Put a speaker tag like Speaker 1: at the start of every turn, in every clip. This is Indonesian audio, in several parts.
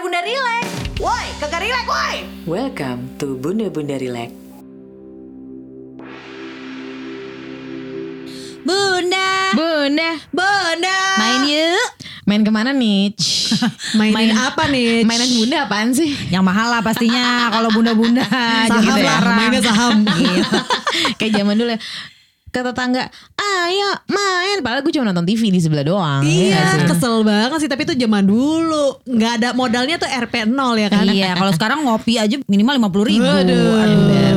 Speaker 1: Bunda Rilek.
Speaker 2: Woi, kagak rilek woi.
Speaker 3: Welcome to Bunda Bunda Relax.
Speaker 1: Bunda,
Speaker 4: Bunda,
Speaker 1: Bunda.
Speaker 2: Nah,
Speaker 4: main yuk. Ah. Main kemana nih?
Speaker 5: Mainin
Speaker 4: Main-
Speaker 5: apa nih?
Speaker 4: Mainan bunda apaan sih?
Speaker 5: Yang mahal lah pastinya kalau bunda-bunda.
Speaker 4: Saham
Speaker 5: Jangan
Speaker 2: ya,
Speaker 4: lah,
Speaker 5: larang.
Speaker 4: mainnya
Speaker 5: gitu ya. saham. Iya,
Speaker 4: Kayak zaman dulu ya. Ke tetangga, ayo main. Padahal gue cuma nonton TV di sebelah doang.
Speaker 5: Iya,
Speaker 4: ya nggak sih?
Speaker 5: kesel banget sih tapi itu zaman dulu. nggak ada modalnya tuh RP 0 ya kan.
Speaker 2: Iya, kalau sekarang ngopi aja minimal lima puluh ribu.
Speaker 5: Aduh,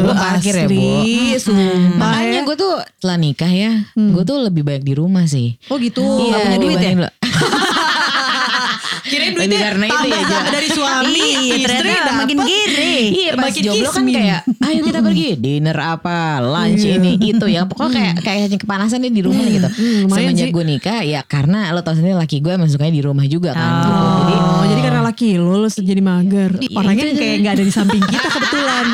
Speaker 4: Belum parkir ya, Bu.
Speaker 5: asli, sumpah
Speaker 4: Makanya
Speaker 5: ya.
Speaker 4: gue tuh setelah nikah ya, gue tuh lebih banyak di rumah sih.
Speaker 5: Hmm. Oh gitu.
Speaker 4: Iya,
Speaker 5: nggak punya duit ya?
Speaker 4: dibanding lo-
Speaker 5: Kirain
Speaker 4: Lebih karena itu ya,
Speaker 5: tambah dari suami,
Speaker 2: Iya,
Speaker 5: istri
Speaker 2: ternyata
Speaker 5: dapet.
Speaker 2: makin gini.
Speaker 4: Iya pas
Speaker 5: Makin
Speaker 4: jomblo kan
Speaker 5: kismin. Iya.
Speaker 4: kayak ayo kita pergi dinner apa lunch ini itu ya pokoknya kayak kayak cacing kepanasan deh di rumah gitu.
Speaker 5: lumayan
Speaker 4: Semenjak
Speaker 5: sih.
Speaker 4: gue nikah ya karena lo tau sendiri laki gue masuknya di rumah juga kan. gitu. Jadi
Speaker 5: Oh, Iya. jadi karena laki lu, lu jadi mager. Orangnya
Speaker 4: itu.
Speaker 5: kayak nggak ada di samping kita kebetulan.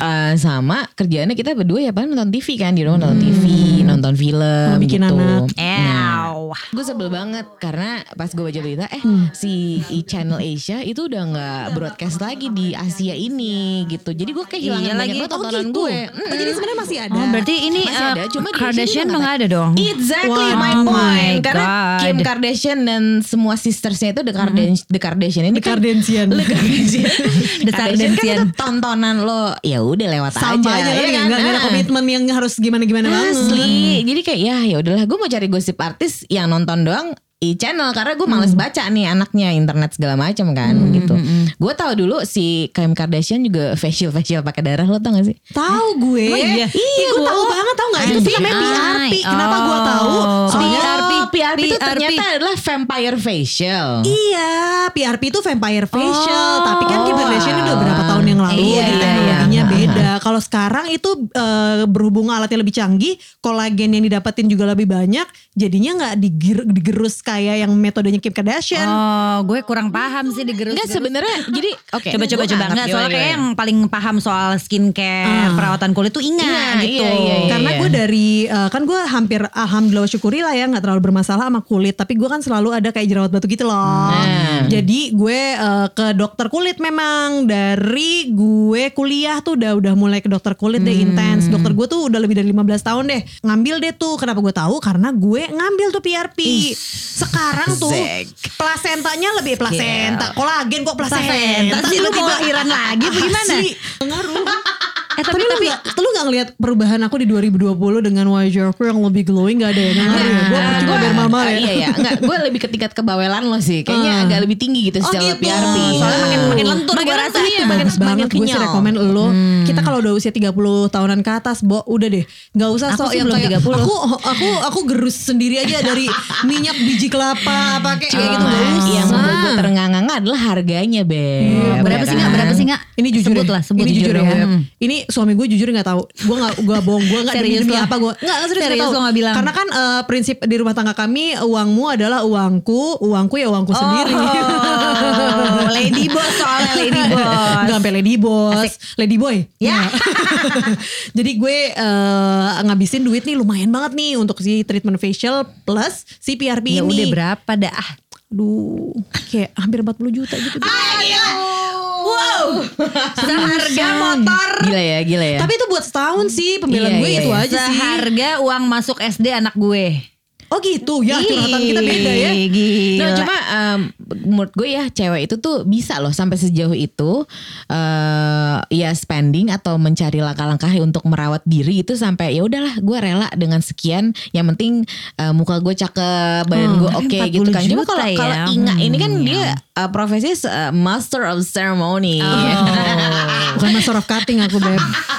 Speaker 4: eh, sama kerjaannya kita berdua ya paling nonton TV kan di rumah nonton TV nonton film
Speaker 5: Mm. Oh, bikin
Speaker 4: gitu.
Speaker 5: anak.
Speaker 4: Nah, gue sebel banget karena pas gue baca berita eh
Speaker 5: Mm.
Speaker 4: si E Channel Asia itu udah nggak broadcast lagi di Asia ini gitu. Jadi gue kehilangan
Speaker 2: Iya
Speaker 4: banyak
Speaker 2: lagi.
Speaker 4: banget
Speaker 2: Oh,
Speaker 4: tontonan
Speaker 5: gitu.
Speaker 4: gue.
Speaker 5: Oh, jadi sebenarnya masih ada.
Speaker 2: Oh, berarti ini
Speaker 4: Masih
Speaker 2: eh,
Speaker 4: ada, cuma di
Speaker 2: Kardashian
Speaker 4: Asia
Speaker 2: tuh
Speaker 4: juga
Speaker 2: nggak ada dong.
Speaker 5: Mm.
Speaker 4: Exactly
Speaker 2: Wow.
Speaker 4: my
Speaker 2: Oh
Speaker 4: point.
Speaker 2: my
Speaker 4: Karena
Speaker 2: God.
Speaker 4: Kim Kardashian dan semua sistersnya itu The, Kardash- The Kardashian ini
Speaker 5: The Kardashian.
Speaker 4: The Kardashian.
Speaker 2: The
Speaker 4: Kardashian kan
Speaker 2: Kardashian.
Speaker 4: itu tontonan lo ya udah lewat
Speaker 5: Sama aja,
Speaker 4: aja.
Speaker 5: kan,
Speaker 4: ya
Speaker 5: nggak- nggak ada
Speaker 4: Nah.
Speaker 5: komitmen yang harus gimana-gimana banget.
Speaker 4: Asli. Jadi kayak ya ya udahlah gue mau cari gosip artis yang nonton doang i channel karena gue
Speaker 5: Hmm.
Speaker 4: males baca nih anaknya internet segala macam kan gitu. Gue tahu dulu si Kim Kardashian juga facial facial pakai darah lo tau gak sih?
Speaker 5: Tahu gue.
Speaker 4: Emang iya? Iya,
Speaker 5: gue
Speaker 4: Bu.
Speaker 5: tahu banget tahu nggak? Itu sih namanya PRP.
Speaker 2: Oh.
Speaker 5: Kenapa gue tahu?
Speaker 4: Oh,
Speaker 5: Soalnya
Speaker 4: PRP, PRP itu
Speaker 2: PRP.
Speaker 4: ternyata adalah vampire facial.
Speaker 5: Iya, PRP itu vampire facial, tapi kan Kim
Speaker 4: Oh.
Speaker 5: Kardashian udah berapa tahun yang lalu
Speaker 4: Iya,
Speaker 5: jadi
Speaker 4: iya,
Speaker 5: teknologinya
Speaker 4: iya.
Speaker 5: beda. Kalau sekarang itu eh, berhubung alatnya lebih canggih, kolagen yang didapetin juga lebih banyak, jadinya nggak diger- digerus kayak yang metodenya Kim Kardashian.
Speaker 2: Oh, gue kurang paham sih digerus.
Speaker 4: Enggak sebenarnya jadi oke.
Speaker 2: Coba coba coba Iya,
Speaker 4: gua nggak
Speaker 2: enggak
Speaker 4: ngerti,
Speaker 2: soalnya
Speaker 4: gimana,
Speaker 2: kayak yang
Speaker 4: gimana.
Speaker 2: paling paham soal skincare, perawatan kulit tuh Inga
Speaker 4: Iya,
Speaker 2: gitu.
Speaker 4: iya, iya, iya.
Speaker 5: Karena gue dari eh, kan gue hampir alhamdulillah syukuri lah ya nggak terlalu bermasalah sama kulit, tapi gue kan selalu ada kayak jerawat batu gitu loh.
Speaker 4: Nah.
Speaker 5: Jadi gue eh, ke dokter kulit memang dari gue kuliah tuh udah udah mulai ke dokter kulit deh intens. Dokter gue tuh udah lebih dari 15 tahun deh. Ngambil deh tuh. Kenapa gue tahu? Karena gue ngambil tuh PRP. Sekarang tuh
Speaker 4: Zek.
Speaker 5: plasentanya lebih plasenta. Kolagen kok plasenta.
Speaker 2: Plasenta sih, lu
Speaker 5: Tiba-tiba-
Speaker 2: kelahiran lagi, bagaimana?
Speaker 5: Asli, Pengaruh.
Speaker 2: Eh,
Speaker 5: tapi,
Speaker 2: tapi-
Speaker 5: lu
Speaker 2: tapi-
Speaker 5: nggak- lu gak ngeliat perubahan aku di 2020 dengan wajah aku yang lebih glowing gak ada ya? Gak ngaruh ya? Gue
Speaker 4: Nah,
Speaker 5: percuma
Speaker 4: gua-
Speaker 5: dermal ya?
Speaker 4: Iya iya, enggak gue lebih ke tingkat kebawelan lo sih. Kayaknya
Speaker 5: Ah.
Speaker 4: agak lebih tinggi gitu
Speaker 5: Oh
Speaker 4: secara
Speaker 5: gitu.
Speaker 4: PRP.
Speaker 2: Soalnya makin
Speaker 4: Oh,
Speaker 2: makin lentur
Speaker 4: Makin
Speaker 2: gue rasa.
Speaker 4: lentur, iya,
Speaker 5: Itu
Speaker 4: makin
Speaker 5: bagus banget gue sih
Speaker 4: kenyal.
Speaker 5: rekomen lo kita kalau udah usia 30 tahunan ke atas bo udah deh nggak usah
Speaker 2: Aku
Speaker 5: sok
Speaker 2: sih
Speaker 5: yang
Speaker 2: belum
Speaker 5: kayak
Speaker 2: 30.
Speaker 5: aku aku aku gerus sendiri aja dari minyak biji kelapa pakai kayak gitu nggak
Speaker 4: Cuman,
Speaker 5: usah
Speaker 4: yang membuat gue iya, terengah-engah adalah harganya Beb.
Speaker 2: Berapa
Speaker 4: ya
Speaker 2: sih nggak?
Speaker 4: kan?
Speaker 2: Berapa sih nggak?
Speaker 5: ini jujur
Speaker 2: sebut
Speaker 5: deh.
Speaker 2: lah, sebut
Speaker 5: ini jujur,
Speaker 2: jujur,
Speaker 5: ya.
Speaker 2: ya. Hmm.
Speaker 5: Ini suami gue jujur nggak tahu. Gue nggak gue bohong, gue nggak demi
Speaker 2: Serius
Speaker 5: demi
Speaker 2: lah.
Speaker 5: apa gue nggak nggak, serius,
Speaker 2: Serius
Speaker 5: nggak tahu.
Speaker 2: lo nggak bilang?
Speaker 5: Karena kan eh, prinsip di rumah tangga kami uangmu adalah uangku, uangku ya uangku sendiri.
Speaker 2: Oh, lady boss soalnya lady boss.
Speaker 5: Gak sampai lady boss, lady boy.
Speaker 2: Ya.
Speaker 5: Jadi gue eh, ngabisin duit nih lumayan banget nih untuk si treatment facial plus si
Speaker 2: Ya
Speaker 5: PRP ini.
Speaker 2: udah berapa dah?
Speaker 5: Aduh, kayak hampir 40 juta gitu.
Speaker 2: Ah, Wow, seharga motor.
Speaker 4: Gila ya, gila ya.
Speaker 5: Tapi itu buat setahun sih
Speaker 4: Iya,
Speaker 5: pembelaan gue
Speaker 4: iya,
Speaker 5: itu
Speaker 4: iya.
Speaker 5: aja sih.
Speaker 2: Seharga uang masuk SD anak gue.
Speaker 5: Oh gitu, ya curhatan kita beda ya.
Speaker 2: Ih,
Speaker 4: Nah,
Speaker 2: Gila.
Speaker 4: cuma em, menurut gue ya cewek itu tuh bisa loh sampai sejauh itu eh ya spending atau mencari langkah-langkah untuk merawat diri itu sampai ya udahlah gue rela dengan sekian yang penting eh, muka gue cakep badan gue oke
Speaker 2: tapi
Speaker 4: gitu
Speaker 2: 40
Speaker 4: kan. Cuma kalau
Speaker 2: Hmm, juta
Speaker 4: kalau
Speaker 2: ya.
Speaker 4: Inga
Speaker 2: Hmm,
Speaker 4: ini kan dia eh, profesinya eh, master of ceremony.
Speaker 2: Oh.
Speaker 5: Bukan master of cutting aku beb.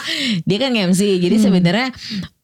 Speaker 4: dia kan MC jadi
Speaker 2: Hmm.
Speaker 4: sebenarnya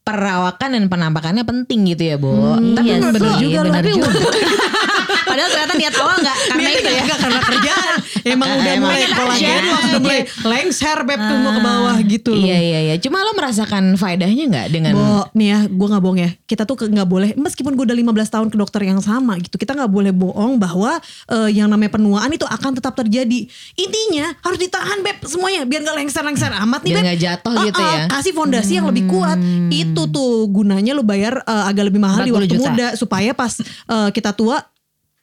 Speaker 4: perawakan dan penampakannya penting gitu ya, Bu. tapi
Speaker 2: Iya sih,
Speaker 4: menurut
Speaker 2: iya,
Speaker 4: lo- gitu, tapi
Speaker 2: benar
Speaker 4: untuk-
Speaker 2: juga. Padahal ternyata niat awal gak karena itu ya.
Speaker 5: Enggak karena kerjaan. Emang udah
Speaker 4: Emang
Speaker 5: mulai
Speaker 4: kerjaan.
Speaker 5: kolagen, lo sudah mulai lengser beb tuh mau ke bawah gitu. loh.
Speaker 4: Iya iya iya. Cuma lo merasakan faedahnya nggak dengan
Speaker 5: Bo, nih ya, gue nggak bohong ya. Kita tuh ke- nggak boleh, meskipun gue udah 15 tahun ke dokter yang sama gitu, kita nggak boleh bohong bahwa eh, yang namanya penuaan itu akan tetap terjadi. Intinya harus ditahan beb semuanya, biar nggak lengser-lengser amat nih
Speaker 4: Biar
Speaker 5: beb.
Speaker 4: nggak jatuh gitu
Speaker 5: Ah, ah,
Speaker 4: ya. Hmm.
Speaker 5: Kasih fondasi yang lebih kuat. Itu tuh gunanya lu bayar eh, agak lebih mahal di
Speaker 2: 40
Speaker 5: waktu
Speaker 2: juta.
Speaker 5: muda supaya pas eh, kita tua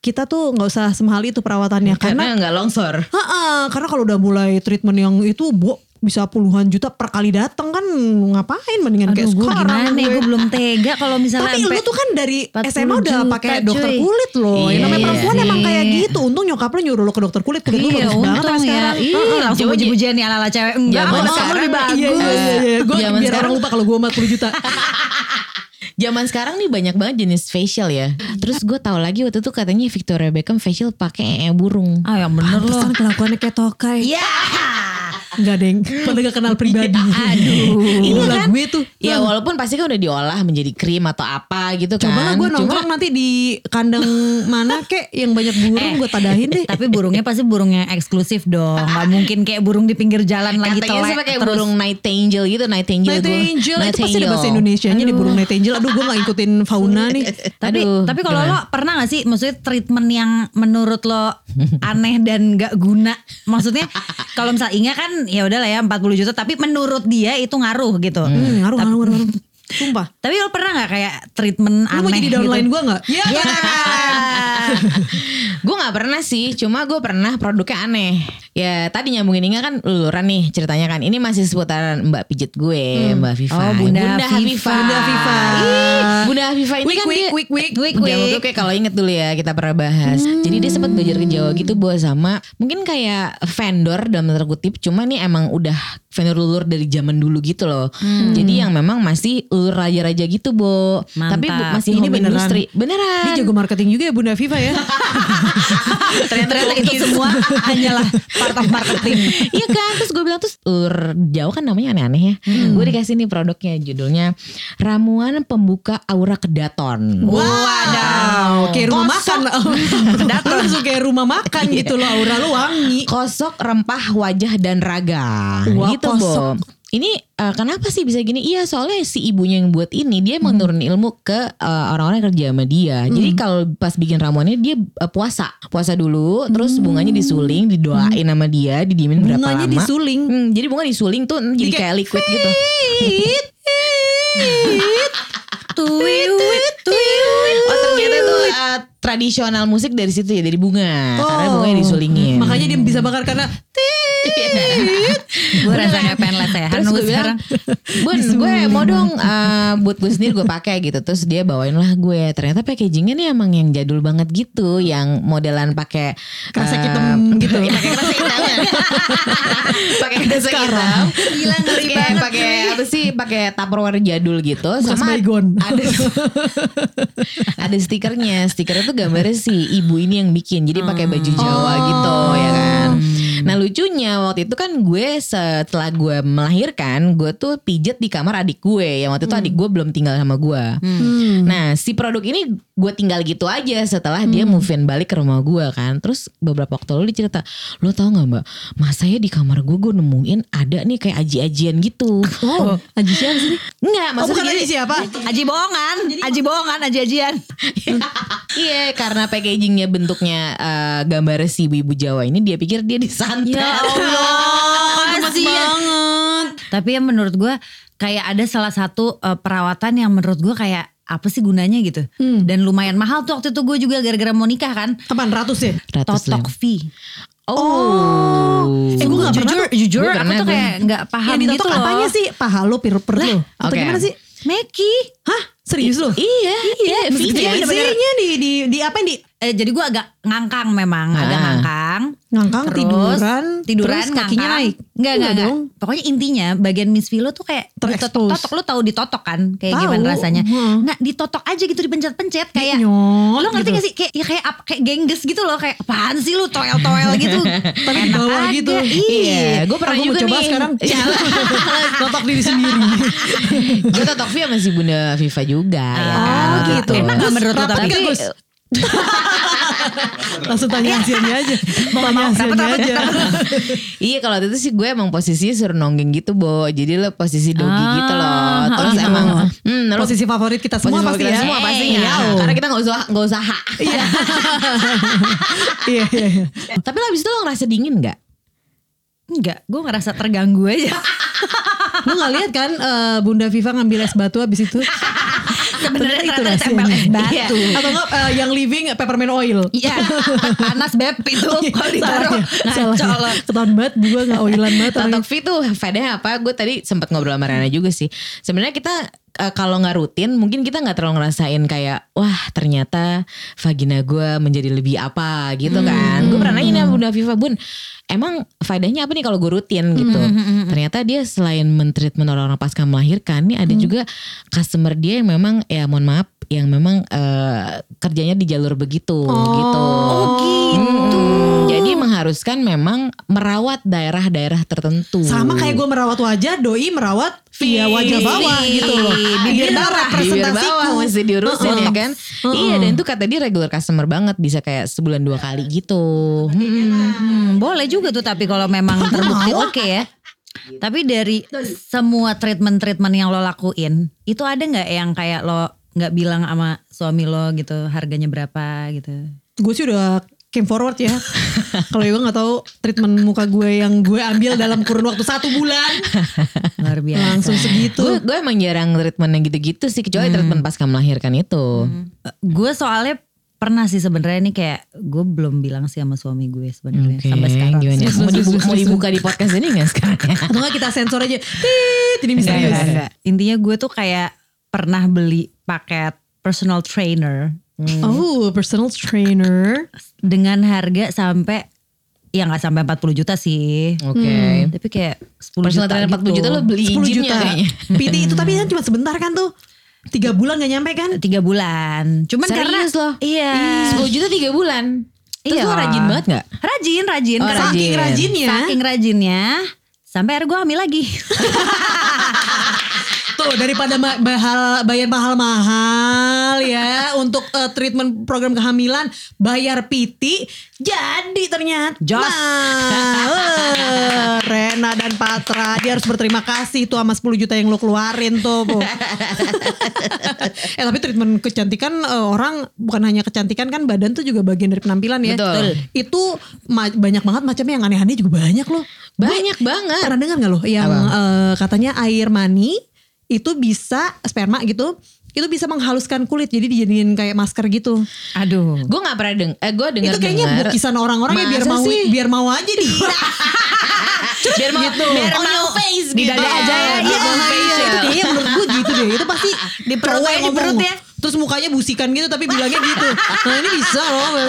Speaker 5: kita tuh nggak usah semahal itu perawatannya karena
Speaker 4: Karena nggak longsor.
Speaker 5: Heeh, karena kalau udah mulai treatment yang itu bu bisa puluhan juta per kali datang kan ngapain mendingan kayak
Speaker 2: Aduh gue
Speaker 5: sekarang
Speaker 2: gimana ya
Speaker 5: gue.
Speaker 2: gue belum tega kalau misalnya
Speaker 5: Tapi lu
Speaker 2: sampai-
Speaker 5: tuh kan dari
Speaker 2: 40
Speaker 5: SMA udah
Speaker 2: juta,
Speaker 5: pakai dokter
Speaker 2: cuy.
Speaker 5: kulit loh. Yang
Speaker 4: Iya,
Speaker 5: namanya
Speaker 4: iya.
Speaker 5: perempuan emang kayak
Speaker 2: Iya.
Speaker 5: gitu. Untung nyokap lu nyuruh lu ke dokter kulit. Kulit lu
Speaker 2: Iya
Speaker 5: bagus banget
Speaker 2: untung
Speaker 5: sampai
Speaker 2: ya
Speaker 5: sekarang.
Speaker 2: Ih langsung
Speaker 4: zaman-
Speaker 2: puji-pujian nih ala-ala cewek Enggak
Speaker 4: zaman
Speaker 2: kalau kamu lebih
Speaker 5: Iya,
Speaker 2: bagus
Speaker 5: iya, iya, iya. Gue
Speaker 4: Zaman
Speaker 5: biar
Speaker 4: sekarang-
Speaker 5: orang lupa kalau gue 40 juta.
Speaker 4: Zaman sekarang nih banyak banget jenis facial ya. Terus gue tahu lagi waktu itu katanya Victoria Beckham facial pakai ee burung.
Speaker 2: Ah yang bener loh
Speaker 5: Pantesan kelakuannya kayak tokai.
Speaker 2: Ya
Speaker 5: Enggak deng. Padahal gak kenal pribadi.
Speaker 4: Aduh.
Speaker 5: Ini lah gue tuh.
Speaker 4: Ya walaupun pasti kan udah diolah menjadi krim atau apa gitu kan.
Speaker 5: Coba lah gue
Speaker 4: Cuma-
Speaker 5: nongkrong nanti di kandang mana kek yang banyak burung gue tadahin deh.
Speaker 2: Tapi burungnya pasti burung yang eksklusif dong Gak mungkin kayak burung di pinggir jalan lagi
Speaker 4: Katanya
Speaker 2: telek
Speaker 4: sih pakai
Speaker 2: terus.
Speaker 4: burung nightingale gitu, nightingale.
Speaker 5: Night
Speaker 4: gua-
Speaker 5: Angel itu pasti ada
Speaker 4: nightingale.
Speaker 5: bahasa Indonesianya di burung Night Angel. Aduh gue gak ikutin fauna nih.
Speaker 2: Tapi
Speaker 4: Aduh,
Speaker 2: tapi kalau lo
Speaker 4: gimana?
Speaker 2: pernah gak sih maksudnya treatment yang menurut lo aneh dan gak guna? Maksudnya kalau misalnya Inga kan ya udahlah ya 40 juta tapi menurut dia itu ngaruh gitu.
Speaker 5: Hmm, ngaruh,
Speaker 2: Tapi-
Speaker 5: ngaruh, ngaruh, ngaruh. Sumpah.
Speaker 2: Tapi lo pernah gak kayak treatment
Speaker 5: Lu
Speaker 2: aneh
Speaker 5: mau jadi downline
Speaker 2: gitu?
Speaker 5: gue gak? Ya.
Speaker 2: Ya.
Speaker 4: gue nggak pernah sih cuma gue pernah produknya aneh ya tadi nyambungin Inga kan luluran nih ceritanya kan ini masih seputaran mbak pijit gue mbak Viva
Speaker 2: Oh, Bunda
Speaker 4: Hafifah.
Speaker 2: Viva.
Speaker 5: Hmm. Bunda Viva.
Speaker 4: Ih, Bunda Viva ini
Speaker 5: Wik,
Speaker 4: kan
Speaker 5: wik,
Speaker 4: dia
Speaker 5: wik, wik.
Speaker 2: Wik,
Speaker 4: Bunda
Speaker 2: wik.
Speaker 4: Viva kayak kalau inget dulu ya kita pernah bahas
Speaker 5: Hmm.
Speaker 4: jadi dia sempat belajar ke Jawa gitu buat sama mungkin kayak vendor dalam tanda kutip cuma nih emang udah vendor lulur dari zaman dulu gitu loh
Speaker 5: Hmm.
Speaker 4: jadi yang memang masih lulur raja-raja gitu bo tapi bu-
Speaker 2: Mantap.
Speaker 4: masih
Speaker 5: Ini
Speaker 4: home
Speaker 5: beneran.
Speaker 4: industri beneran
Speaker 5: Dia jago marketing juga ya Bunda Viva ya.
Speaker 2: Ternyata itu semua hanyalah part of marketing.
Speaker 4: Iya kan Terus gue bilang Terus ur, Jawa kan namanya aneh-aneh ya
Speaker 5: Hmm.
Speaker 4: Gue dikasih nih produknya Judulnya Ramuan Pembuka Aura Kedaton
Speaker 5: Wow. Kayak rumah makan. Datang langsung kayak rumah makan gitu loh. Aura lu wangi.
Speaker 4: Kosok rempah wajah dan raga
Speaker 5: Wah,
Speaker 4: Gitu
Speaker 5: kosok.
Speaker 4: Bo ini eh, kenapa sih bisa gini? Iya soalnya si ibunya yang buat ini dia mau
Speaker 5: Hmm.
Speaker 4: nurunin ilmu ke eh, orang-orang yang kerja sama dia. Jadi kalau pas bikin ramuannya dia eh, puasa, puasa dulu, terus bunganya disuling, didoain sama dia, didiemin berapa
Speaker 5: Hmm. Bunganya
Speaker 4: lama?
Speaker 5: disuling.
Speaker 4: Hmm, jadi bunga disuling tuh hmm, jadi
Speaker 5: Jadi
Speaker 4: kayak liquid gitu.
Speaker 2: Tweet, tweet.
Speaker 4: Oh ternyata itu uh, tradisional musik dari situ ya dari bunga karena
Speaker 5: Oh.
Speaker 4: bunganya disulingin.
Speaker 5: Makanya dia bisa bakar karena
Speaker 2: Gue rasa kayak pengen lesehan
Speaker 4: Terus
Speaker 2: gue
Speaker 4: gue
Speaker 2: ya, sekarang.
Speaker 4: bilang, Bun gue mau dong uh, buat gue sendiri gue pakai gitu. Terus dia bawain lah gue. Ternyata packagingnya nih emang yang jadul banget gitu. Yang modelan pakai
Speaker 5: Kresek
Speaker 4: eh,
Speaker 5: hitam gitu.
Speaker 4: Iya, pakai kresek hitam. pakai kresek hitam. Gila ngeri banget. Pakai apa sih? Pakai Tupperware jadul gitu. sama
Speaker 5: baygon.
Speaker 4: ada ada stikernya. Stikernya tuh gambarnya si ibu ini yang bikin. Jadi pakai baju
Speaker 5: Hmm. Oh.
Speaker 4: Jawa gitu ya kan. Nah lucunya waktu itu kan gue setelah gue melahirkan, gue tuh pijet di kamar adik gue. Yang waktu
Speaker 5: Hmm.
Speaker 4: itu adik gue belum tinggal sama gue. Nah si produk ini gue tinggal gitu aja setelah dia
Speaker 5: Hmm.
Speaker 4: move in balik ke rumah gue kan. Terus beberapa waktu lalu dia cerita, lo tau gak mbak, masanya di kamar gue gue nemuin ada nih kayak aji-ajian gitu.
Speaker 5: Oh, Aji siapa sih?
Speaker 4: Enggak
Speaker 5: Oh,
Speaker 4: maksudnya
Speaker 5: bukan
Speaker 4: dia-
Speaker 5: Aji siapa?
Speaker 2: Aji bohongan, Aji bohongan, Aji Ajian.
Speaker 4: Iya karena packagingnya bentuknya eh, gambar si ibu Jawa ini dia pikir dia disantet.
Speaker 2: Ya Allah,
Speaker 5: Ya banget.
Speaker 2: Tapi yang menurut gue kayak ada salah satu eh, perawatan yang menurut gue kayak apa sih gunanya gitu. Dan lumayan mahal tuh waktu itu gue juga gara-gara mau nikah kan.
Speaker 5: Apaan ratus ya?
Speaker 4: Ratus
Speaker 2: Totok
Speaker 4: lem.
Speaker 2: fee.
Speaker 4: Oh.
Speaker 5: Eh, gue gak pernah
Speaker 2: jujur,
Speaker 5: tuh.
Speaker 2: jujur
Speaker 4: Gua
Speaker 2: aku
Speaker 4: pernah,
Speaker 2: tuh
Speaker 4: gua.
Speaker 2: kayak nggak paham
Speaker 5: Yang
Speaker 2: gitu
Speaker 5: ditotok
Speaker 2: loh.
Speaker 5: apanya sih? Paha lu, pir perut lu. Atau
Speaker 4: oke.
Speaker 5: gimana sih?
Speaker 2: Meki.
Speaker 5: Hah? Serius lu?
Speaker 4: Iya, iya,
Speaker 5: Mesti
Speaker 4: video
Speaker 5: dia
Speaker 4: bener-bener.
Speaker 5: isinya di di di apa yang di
Speaker 2: Eh, jadi gue agak ngangkang memang, agak
Speaker 4: Ah.
Speaker 2: ngangkang.
Speaker 5: ngangkang tiduran,
Speaker 2: tiduran
Speaker 5: terus kakinya
Speaker 2: ngangkang.
Speaker 5: naik.
Speaker 2: Enggak, enggak,
Speaker 5: Iya
Speaker 2: enggak.
Speaker 5: dong.
Speaker 2: Pokoknya intinya bagian Miss Vilo tuh kayak
Speaker 5: Terekspos.
Speaker 2: ditotok, lu tahu ditotok kan kayak
Speaker 5: Tahu,
Speaker 2: gimana rasanya.
Speaker 5: heeh.
Speaker 2: Nah, ditotok aja gitu dipencet-pencet kayak
Speaker 5: nyot
Speaker 2: Lo ngerti
Speaker 5: gitu.
Speaker 2: gak sih kayak ya kayak apa kayak gengges gitu loh kayak apaan sih lu toel-toel gitu.
Speaker 5: Tapi di
Speaker 2: Enak
Speaker 5: bawah
Speaker 2: aja,
Speaker 5: gitu.
Speaker 2: Iya.
Speaker 4: Iya, gue pernah
Speaker 5: Aku mau
Speaker 4: juga
Speaker 5: coba
Speaker 4: nih.
Speaker 5: sekarang. Totok diri sendiri.
Speaker 4: gue totok via sama si Bunda Viva juga
Speaker 2: Oh,
Speaker 4: ya kan. waktu
Speaker 2: gitu.
Speaker 4: itu.
Speaker 2: Enak gak menurut lo
Speaker 5: Ah, Rapat
Speaker 2: tapi?
Speaker 5: nggak, Gus? Langsung tanya asiannya aja.
Speaker 2: Mau nggak
Speaker 5: tanya
Speaker 2: mau,
Speaker 5: asiannya
Speaker 2: rapat,
Speaker 5: aja.
Speaker 4: Iya kalau waktu itu sih gue emang posisinya suruh nonggeng gitu Bo Jadi lo posisi dogi
Speaker 2: Ah,
Speaker 4: gitu loh Terus
Speaker 2: gitu.
Speaker 4: emang hmm, lo
Speaker 5: Nah, Posisi favorit kita
Speaker 4: posisi
Speaker 5: semua pasti
Speaker 4: kita
Speaker 5: ya.
Speaker 4: Semua pasti
Speaker 2: Eh,
Speaker 4: ya.
Speaker 5: yau.
Speaker 4: Karena kita gak usah Gak usah hak.
Speaker 5: Iya, iya, iya.
Speaker 4: Tapi lo abis itu lo ngerasa dingin gak?
Speaker 2: Enggak, gue ngerasa terganggu aja.
Speaker 5: Lu gak lihat kan eh, Bunda Viva ngambil es batu abis itu?
Speaker 2: Sebenarnya
Speaker 5: itu
Speaker 2: ternyata
Speaker 5: rahasianya.
Speaker 2: tempel es batu.
Speaker 5: Iya. Atau enggak eh, yang living peppermint oil.
Speaker 2: Iya,
Speaker 5: Iya,
Speaker 2: oh, panas beb itu kalau ditaruh ngaco
Speaker 5: Salah. ya.
Speaker 2: loh.
Speaker 5: Ketahuan banget gue
Speaker 2: Eh,
Speaker 5: gak oilan banget.
Speaker 4: Tontok V tuh faedahnya apa? Gue tadi sempat ngobrol sama Rana juga sih. Sebenarnya kita eh, kalau nggak rutin, mungkin kita nggak terlalu ngerasain kayak wah ternyata vagina gue menjadi lebih apa gitu kan. Gue pernah nanya sama Bunda Viva Bun, emang faedahnya apa nih kalau gue rutin gitu? Ternyata dia selain mentreatment orang-orang pasca melahirkan, nih ada juga customer dia yang memang ya mohon maaf yang memang eh, kerjanya di jalur begitu gitu.
Speaker 5: gitu.
Speaker 4: Hmm. Jadi mengharuskan memang merawat daerah-daerah tertentu.
Speaker 5: Sama kayak gue merawat wajah, doi merawat via wajah bawah gitu loh.
Speaker 2: Iya, Bibir
Speaker 5: Biar
Speaker 2: bawah.
Speaker 4: bibir
Speaker 5: representasiku.
Speaker 4: Iya, bawah mesti diurusin
Speaker 5: Heeh.
Speaker 4: ya kan. Iya dan itu kata dia regular customer banget bisa kayak sebulan dua kali gitu. Hmm.
Speaker 2: Hmm, boleh juga tuh tapi kalau memang terbukti oke ya. Tapi dari semua treatment-treatment yang lo lakuin, itu ada nggak yang kayak lo nggak bilang sama suami lo gitu harganya berapa gitu?
Speaker 5: Gue sih udah came forward ya. Kalau gue nggak tahu treatment muka gue yang gue ambil dalam kurun waktu satu bulan
Speaker 2: Luar biasa.
Speaker 5: langsung segitu.
Speaker 4: Gue gue emang jarang treatment yang gitu-gitu sih kecuali treatment pasca melahirkan itu.
Speaker 2: gue soalnya pernah sih sebenarnya ini kayak gue belum bilang sih sama suami gue sebenarnya
Speaker 4: Oke,
Speaker 2: iya, sampai sekarang.
Speaker 4: gimana?
Speaker 2: Sus,
Speaker 4: Mau,
Speaker 2: sus,
Speaker 4: dibu-
Speaker 2: sus,
Speaker 4: mau
Speaker 2: sus.
Speaker 4: dibuka di podcast ini gak sekarang ya?
Speaker 5: Atau nggak kita sensor aja. Tit, jadi misterius.
Speaker 4: Enggak, enggak.
Speaker 2: Intinya gue tuh kayak pernah beli paket personal trainer
Speaker 5: Oh, personal trainer.
Speaker 2: dengan harga sampai ya nggak sampai 40 juta sih.
Speaker 4: Oke.
Speaker 2: Hmm, Tapi kayak 10
Speaker 4: Personal
Speaker 2: juta
Speaker 4: trainer 40
Speaker 2: gitu.
Speaker 4: juta lo beli
Speaker 5: 10
Speaker 4: jinnya
Speaker 5: juta.
Speaker 4: kayaknya. Hmm.
Speaker 5: PT itu tapi kan cuma sebentar kan tuh. Tiga bulan gak nyampe kan?
Speaker 2: tiga bulan. Cuman
Speaker 4: Serius
Speaker 2: karena
Speaker 4: loh?
Speaker 2: iya.
Speaker 4: 10 juta 3 bulan. Terus
Speaker 2: Iya.
Speaker 4: lo rajin banget gak?
Speaker 2: Rajin, rajin.
Speaker 4: Oh,
Speaker 2: Karena
Speaker 5: Saking
Speaker 4: Rajin.
Speaker 5: rajinnya.
Speaker 2: Saking rajinnya sampai akhirnya gue hamil lagi.
Speaker 5: Tuh daripada ma- bahal- bayar mahal-mahal ya untuk eh, treatment program kehamilan bayar PT jadi ternyata
Speaker 2: Jos.
Speaker 5: Eh, Rena dan Patra dia harus berterima kasih tuh sama 10 juta yang lo keluarin tuh. Bu. eh tapi treatment kecantikan eh, orang bukan hanya kecantikan kan badan tuh juga bagian dari penampilan ya.
Speaker 4: Betul.
Speaker 5: Itu ma- banyak banget macamnya yang aneh-aneh juga banyak loh.
Speaker 4: Banyak banget.
Speaker 5: Pernah dengar nggak loh yang eh, katanya air mani itu bisa sperma gitu, itu bisa menghaluskan kulit jadi dijadiin kayak masker gitu.
Speaker 2: Aduh.
Speaker 4: Gue gak pernah deng eh gue dengar
Speaker 5: itu kayaknya bukisan orang-orang ya biar
Speaker 4: Masa
Speaker 5: mau
Speaker 4: sih?
Speaker 5: biar mau aja di
Speaker 4: biar mau biar
Speaker 2: On your
Speaker 4: mau Gitu. face
Speaker 2: Di
Speaker 4: gitu.
Speaker 2: dada aja ya,
Speaker 5: Iya,
Speaker 2: di
Speaker 5: iya,
Speaker 2: bawah
Speaker 5: iya,
Speaker 2: facial.
Speaker 5: itu kayaknya menurut gue gitu deh. Itu pasti di
Speaker 2: perut ya, di perut ya.
Speaker 5: Terus mukanya busikan gitu tapi bilangnya gitu. Nah ini bisa loh.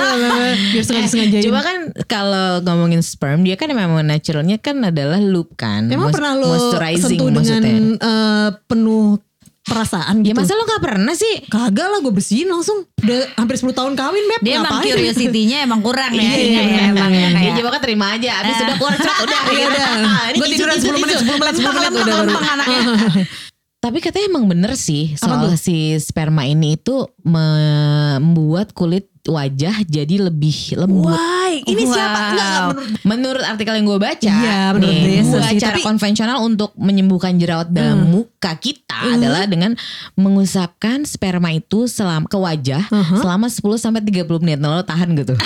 Speaker 5: Biar sengaja-sengaja.
Speaker 4: Coba kan kalau ngomongin sperm dia kan memang naturalnya kan adalah loop kan.
Speaker 5: Emang
Speaker 4: Moist-
Speaker 5: pernah lo
Speaker 4: moisturizing
Speaker 5: sentuh dengan
Speaker 4: maksudnya.
Speaker 5: eh, penuh perasaan
Speaker 4: Ya
Speaker 5: gitu?
Speaker 4: masa lo gak pernah sih?
Speaker 5: Kagak lah gue bersihin langsung Udah hampir 10 tahun kawin Beb
Speaker 2: Dia ya, emang
Speaker 5: Ngapain?
Speaker 2: curiosity-nya emang kurang ya.
Speaker 4: Iya,
Speaker 2: Iya,
Speaker 4: iya,
Speaker 2: iya, emang ya Eh.
Speaker 4: Dia
Speaker 2: kayak.
Speaker 4: coba kan terima aja. Abis udah keluar cerot udah.
Speaker 5: Iya udah
Speaker 4: Ah, ini
Speaker 5: Gue
Speaker 4: isu,
Speaker 5: tiduran
Speaker 4: isu,
Speaker 5: 10 menit
Speaker 4: isu.
Speaker 5: 10 menit 10 menit
Speaker 2: Lempeng,
Speaker 5: udah baru
Speaker 2: lempeng anaknya.
Speaker 4: Tapi katanya emang bener sih
Speaker 5: Apa
Speaker 4: soal
Speaker 5: tuh?
Speaker 4: si sperma ini itu membuat kulit wajah jadi lebih lembut.
Speaker 5: Why? Ini siapa? Enggak enggak, menurut
Speaker 4: Menurut artikel yang gue baca,
Speaker 5: Iya, menurut
Speaker 4: nih,
Speaker 5: Desa
Speaker 4: dua
Speaker 5: sih,
Speaker 4: cara
Speaker 5: tapi- Hmm.
Speaker 4: konvensional untuk menyembuhkan jerawat dalam muka kita adalah dengan mengusapkan sperma itu selam ke wajah
Speaker 5: Hmm.
Speaker 4: selama 10 sampai 30 menit. Nah, lo tahan gitu.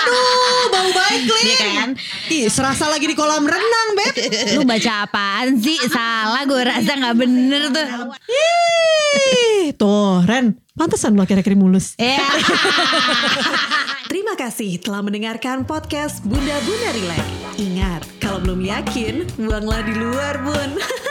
Speaker 5: Aduh bau baik
Speaker 4: Iya
Speaker 5: Lin
Speaker 4: kan?
Speaker 5: Ih serasa lagi di kolam renang Beb
Speaker 2: Lu baca apaan sih? Salah gue rasa gak bener tuh.
Speaker 5: Ih, Tuh Ren Pantesan lo akhir-akhir mulus
Speaker 2: Ya.
Speaker 5: Iya. Terima kasih telah mendengarkan podcast Bunda Bunda Relax Ingat Kalau belum yakin Buanglah di luar bun